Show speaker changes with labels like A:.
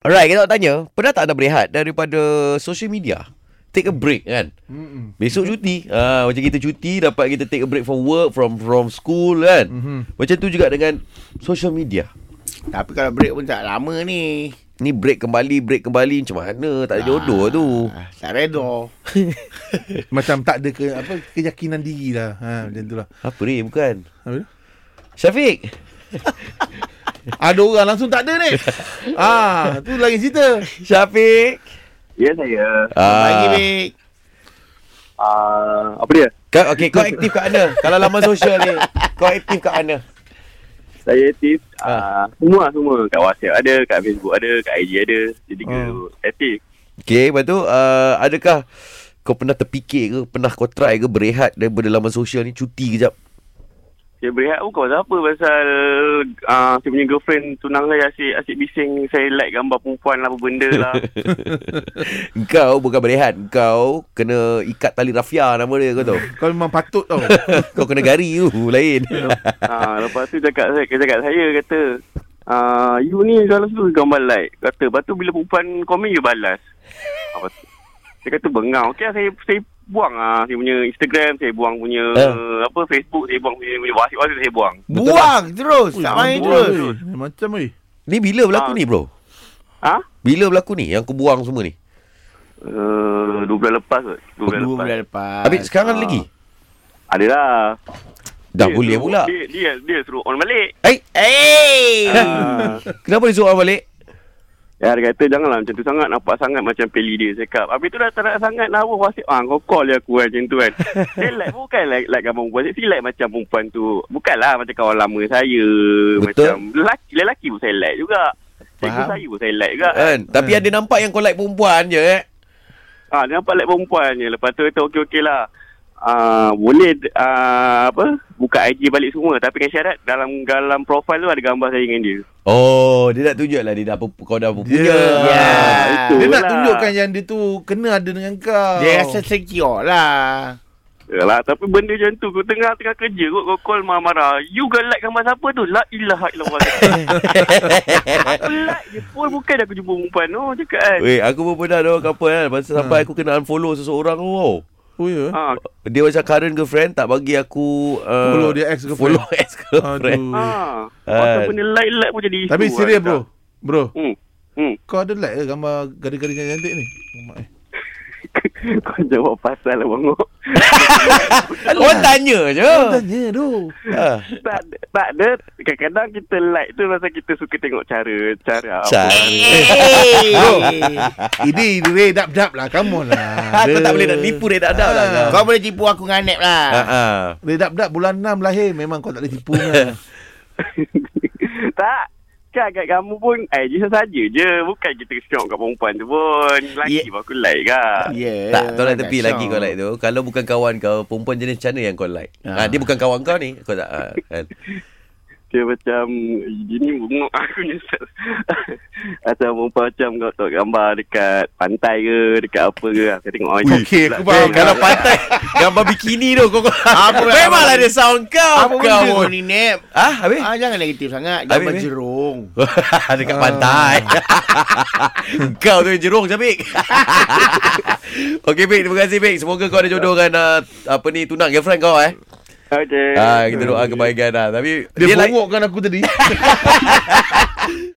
A: Alright, kita nak tanya, pernah tak anda berehat daripada social media? Take a break kan?
B: Mm-mm.
A: Besok cuti. Ah, macam kita cuti dapat kita take a break from work, from from school kan.
B: Mhm.
A: Macam tu juga dengan social media.
C: Tapi kalau break pun tak lama ni.
A: Ni break kembali, break kembali macam mana? Tak ada jodoh
C: Ah,
A: tu.
C: Tak redor.
B: Macam tak ada ke, apa keyakinan diri lah. Ha, macam tu lah.
A: Apa ni? Bukan.
B: Apa tu?
A: Syafiq.
B: Ada orang langsung tak ada ni. ah, tu lain cerita.
A: Syafiq.
D: Ya saya.
C: Ah. Pagi,
A: Ah.
C: Bik.
D: Uh, apa dia?
A: Kau, okay, kau aktif kat mana? Kalau laman sosial ni, kau aktif kat mana?
D: Saya aktif. Uh, semua semua kat WhatsApp ada, kat Facebook ada, kat IG ada. Jadi tiga Eh,
B: Hmm.
D: aktif.
A: Okay, lepas tu, uh, adakah kau pernah terfikir ke, pernah kau try ke berehat daripada laman sosial ni, cuti kejap?
D: Saya berehat pun kau pasal apa pasal uh, saya punya girlfriend tunang saya asyik asyik bising saya like gambar perempuan lah apa benda lah.
A: Kau bukan berehat, kau kena ikat tali rafia nama dia kau tahu.
B: Kau memang patut tau.
A: Kau kena gari tu, lain.
D: ha, lepas tu cakap saya dia cakap saya kata uh, you ni kalau suruh gambar like kata lepas tu bila perempuan komen you balas. Apa tu? Dia kata bengau. Okey lah, saya saya buang ah saya punya Instagram, saya buang punya
A: Eh.
D: apa Facebook, saya buang punya, punya WhatsApp, WhatsApp saya buang.
C: Buang terus.
B: Ui,
C: Tak main
B: amboi.
C: terus.
B: Macam lah, weh.
A: ni bila
D: Ah.
A: berlaku ni bro?
D: Ha?
A: Bila berlaku ni yang kau buang semua ni?
D: Uh, dua bulan lepas kot. Dua
A: Oh,
D: bulan
C: Dua
D: lepas.
C: bulan lepas.
A: Habis sekarang
D: ah.
A: lagi?
D: Adalah.
A: Dah
D: Dia
A: boleh
D: suruh-
A: pula.
D: Dia, dia, dia suruh on balik.
A: Eh,
C: Eh.
D: Ah.
A: kenapa dia suruh balik?
D: Ya, dia kata janganlah macam tu sangat nampak sangat macam peli dia cakap. Habis tu dah tak nak sangat lah awak wasip. Ah kau call dia aku kan macam tu kan. dia like bukan like, like gambar perempuan. Dia like macam perempuan tu. Bukanlah macam kawan lama saya.
A: Betul.
D: Macam lelaki, lelaki pun saya like juga. Cikgu
B: Faham.
D: saya pun saya like juga.
A: Kan? Tapi ada nampak yang kau like perempuan je eh.
D: Ah dia nampak like perempuan je. Lepas tu kata okey-okey lah. Ah boleh ah, apa buka IG balik semua tapi dengan syarat dalam dalam profile tu ada gambar saya dengan dia.
A: Oh, dia nak tunjuk lah dia dah pe- kau dah punya. Ya.
B: Yeah.
C: Ah,
D: itu
B: Ya. Dia nak
D: lah.
B: tunjukkan yang dia tu kena ada dengan kau.
C: Dia rasa secure lah.
D: Yalah, tapi benda macam tu. Kau tengah-tengah kerja kot, kau call marah-marah. You girl like gambar siapa tu? La ilaha illallah. aku like je pun bukan aku jumpa perempuan tu. Oh, cakap kan.
A: Weh, aku pun pernah ada orang couple kan. Masa sampai aku kena unfollow seseorang tu. Wow.
B: Oh ya.
A: Ah.
D: Ha,
A: Dia macam current girlfriend tak bagi aku uh,
B: Follow dia ex-girlfriend.
A: Follow ex-girlfriend.
B: Aduh.
D: ha.
A: Ah.
D: Pasal benda like-like pun jadi isu.
B: Tapi
D: lah,
B: serius
D: cakap.
B: bro. Bro,
D: Hmm. Hmm.
B: kau ada like ke gambar gadis-gadis yang cantik ni? Mak eh.
D: Kau jawab pasal lah, bang.
A: Orang tanya je.
B: Tanya tu.
A: Ah.
D: tak, ada- tak ada. Kadang-kadang kita like tu pasal kita suka tengok cara. Cara apa.
A: Cara.
C: Eh.
B: Ini redap-dap lah. Come on lah.
A: Aku Ha, tak boleh nak tipu dia tak ada lah.
C: Kau boleh tipu aku dengan Anep lah.
A: Ah, ah.
B: Redap-dap bulan 6 lahir. Memang kau tak boleh tipu lah.
D: tak. Kan kat kamu pun IG saja je. Bukan kita syok kat perempuan tu pun. Lelaki
C: Ye-
D: pun aku like kan.
C: Yeah,
A: ah. Tak, tolak tepi
C: Ya, syok.
A: lagi kau like tu. Kalau bukan kawan kau, perempuan jenis macam mana yang kau like? Ah.
C: Ah.
A: dia bukan kawan kau ni. Kau tak ah, kan.
D: Dia macam Dia ni bengok aku nyesal Macam perempuan macam Kau tengok gambar dekat Pantai ke Dekat apa ke Aku tengok orang
B: Okey, aku faham.
D: Eh,
A: lah, Kalau pantai gambar bikini tu kau
C: Apa pula-
A: Memanglah dia sound kau.
C: Apa
A: kau
C: benda
A: pun.
C: kau ni Nep?
A: Ah, habis?
C: Ah, jangan negatif sangat.
A: Habis,
C: Gambar
A: habis?
C: jerung.
A: Dekat pantai Kau tu yang jerung Syamik Okay Bik Terima kasih Bik Semoga kau ada jodoh dengan uh, Apa ni Tunang girlfriend kau eh
D: Okay ya,
A: ah, Kita doa kebaikan lah Tapi
B: Dia,
A: lain-
B: bongokkan aku tadi.